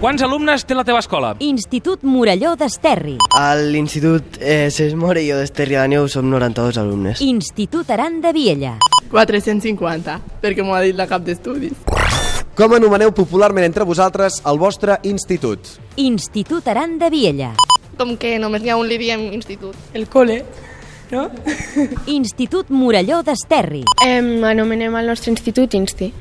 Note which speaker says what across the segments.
Speaker 1: Quants alumnes té la teva escola?
Speaker 2: Institut Muralló d'Esterri.
Speaker 3: A l'Institut eh, Cesc Morelló d'Esterri d'Àneu som 92 alumnes.
Speaker 2: Institut Aran de Viella.
Speaker 4: 450, perquè m'ho ha dit la cap d'estudis.
Speaker 5: Com anomeneu popularment entre vosaltres el vostre institut?
Speaker 2: Institut Aran de Viella.
Speaker 4: Com que només n'hi ha un li diem institut.
Speaker 6: El cole, no?
Speaker 2: Institut Muralló d'Esterri.
Speaker 7: Em, anomenem el nostre institut Insti.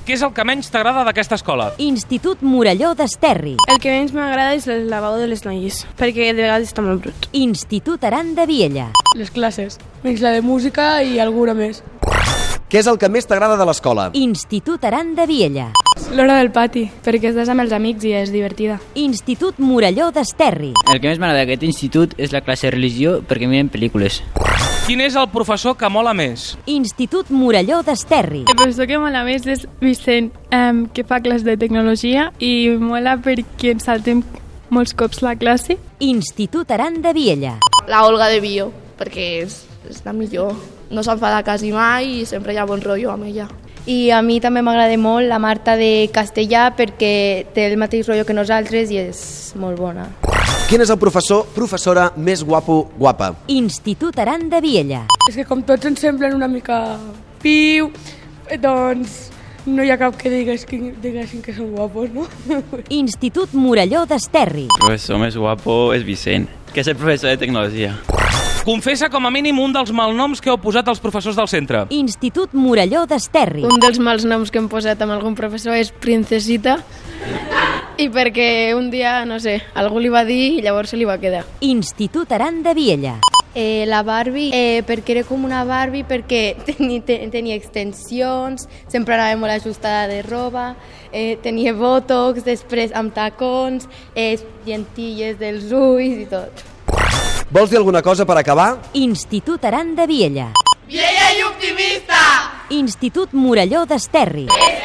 Speaker 1: Què és el que menys t'agrada d'aquesta escola?
Speaker 2: Institut Muralló d'Esterri.
Speaker 7: El que menys m'agrada és el lavabo de les noies, perquè de vegades està molt brut.
Speaker 2: Institut Aran de Viella.
Speaker 6: Les classes, menys la de música i alguna més.
Speaker 5: Què és el que més t'agrada de l'escola?
Speaker 2: Institut Aran de Viella.
Speaker 7: L'hora del pati, perquè estàs amb els amics i és divertida.
Speaker 2: Institut Muralló d'Esterri.
Speaker 8: El que més m'agrada d'aquest institut és la classe de religió perquè miren pel·lícules.
Speaker 1: Quin és el professor que mola més?
Speaker 2: Institut Muralló d'Esterri.
Speaker 9: El professor que mola més és Vicent, um, que fa classes de tecnologia i mola perquè ens saltem molts cops la classe.
Speaker 2: Institut Aran de Viella.
Speaker 4: La Olga de Bio, perquè és, és la millor. No s'enfada quasi mai i sempre hi ha bon rotllo amb ella.
Speaker 7: I a mi també m'agrada molt la Marta de Castellà perquè té el mateix rotllo que nosaltres i és molt bona.
Speaker 5: Quin és el professor, professora més guapo, guapa?
Speaker 2: Institut Aran de Viella.
Speaker 6: És que com tots ens semblen una mica piu, eh, doncs no hi ha cap que digues que, diguessin que són guapos, no?
Speaker 2: Institut Muralló d'Esterri.
Speaker 10: professor més guapo és Vicent, que és el professor de tecnologia.
Speaker 1: Confessa com a mínim un dels malnoms que heu posat als professors del centre.
Speaker 2: Institut Muralló d'Esterri.
Speaker 7: Un dels mals noms que hem posat amb algun professor és Princesita i perquè un dia, no sé, algú li va dir i llavors se li va quedar.
Speaker 2: Institut Aran de Viella.
Speaker 7: Eh, la Barbie, eh, perquè era com una Barbie, perquè tenia, tenia extensions, sempre anava molt ajustada de roba, eh, tenia botox, després amb tacons, eh, llentilles dels ulls i tot.
Speaker 5: Vols dir alguna cosa per acabar?
Speaker 2: Institut Aran de Viella.
Speaker 4: Vieja i optimista!
Speaker 2: Institut Muralló d'Esterri.
Speaker 4: És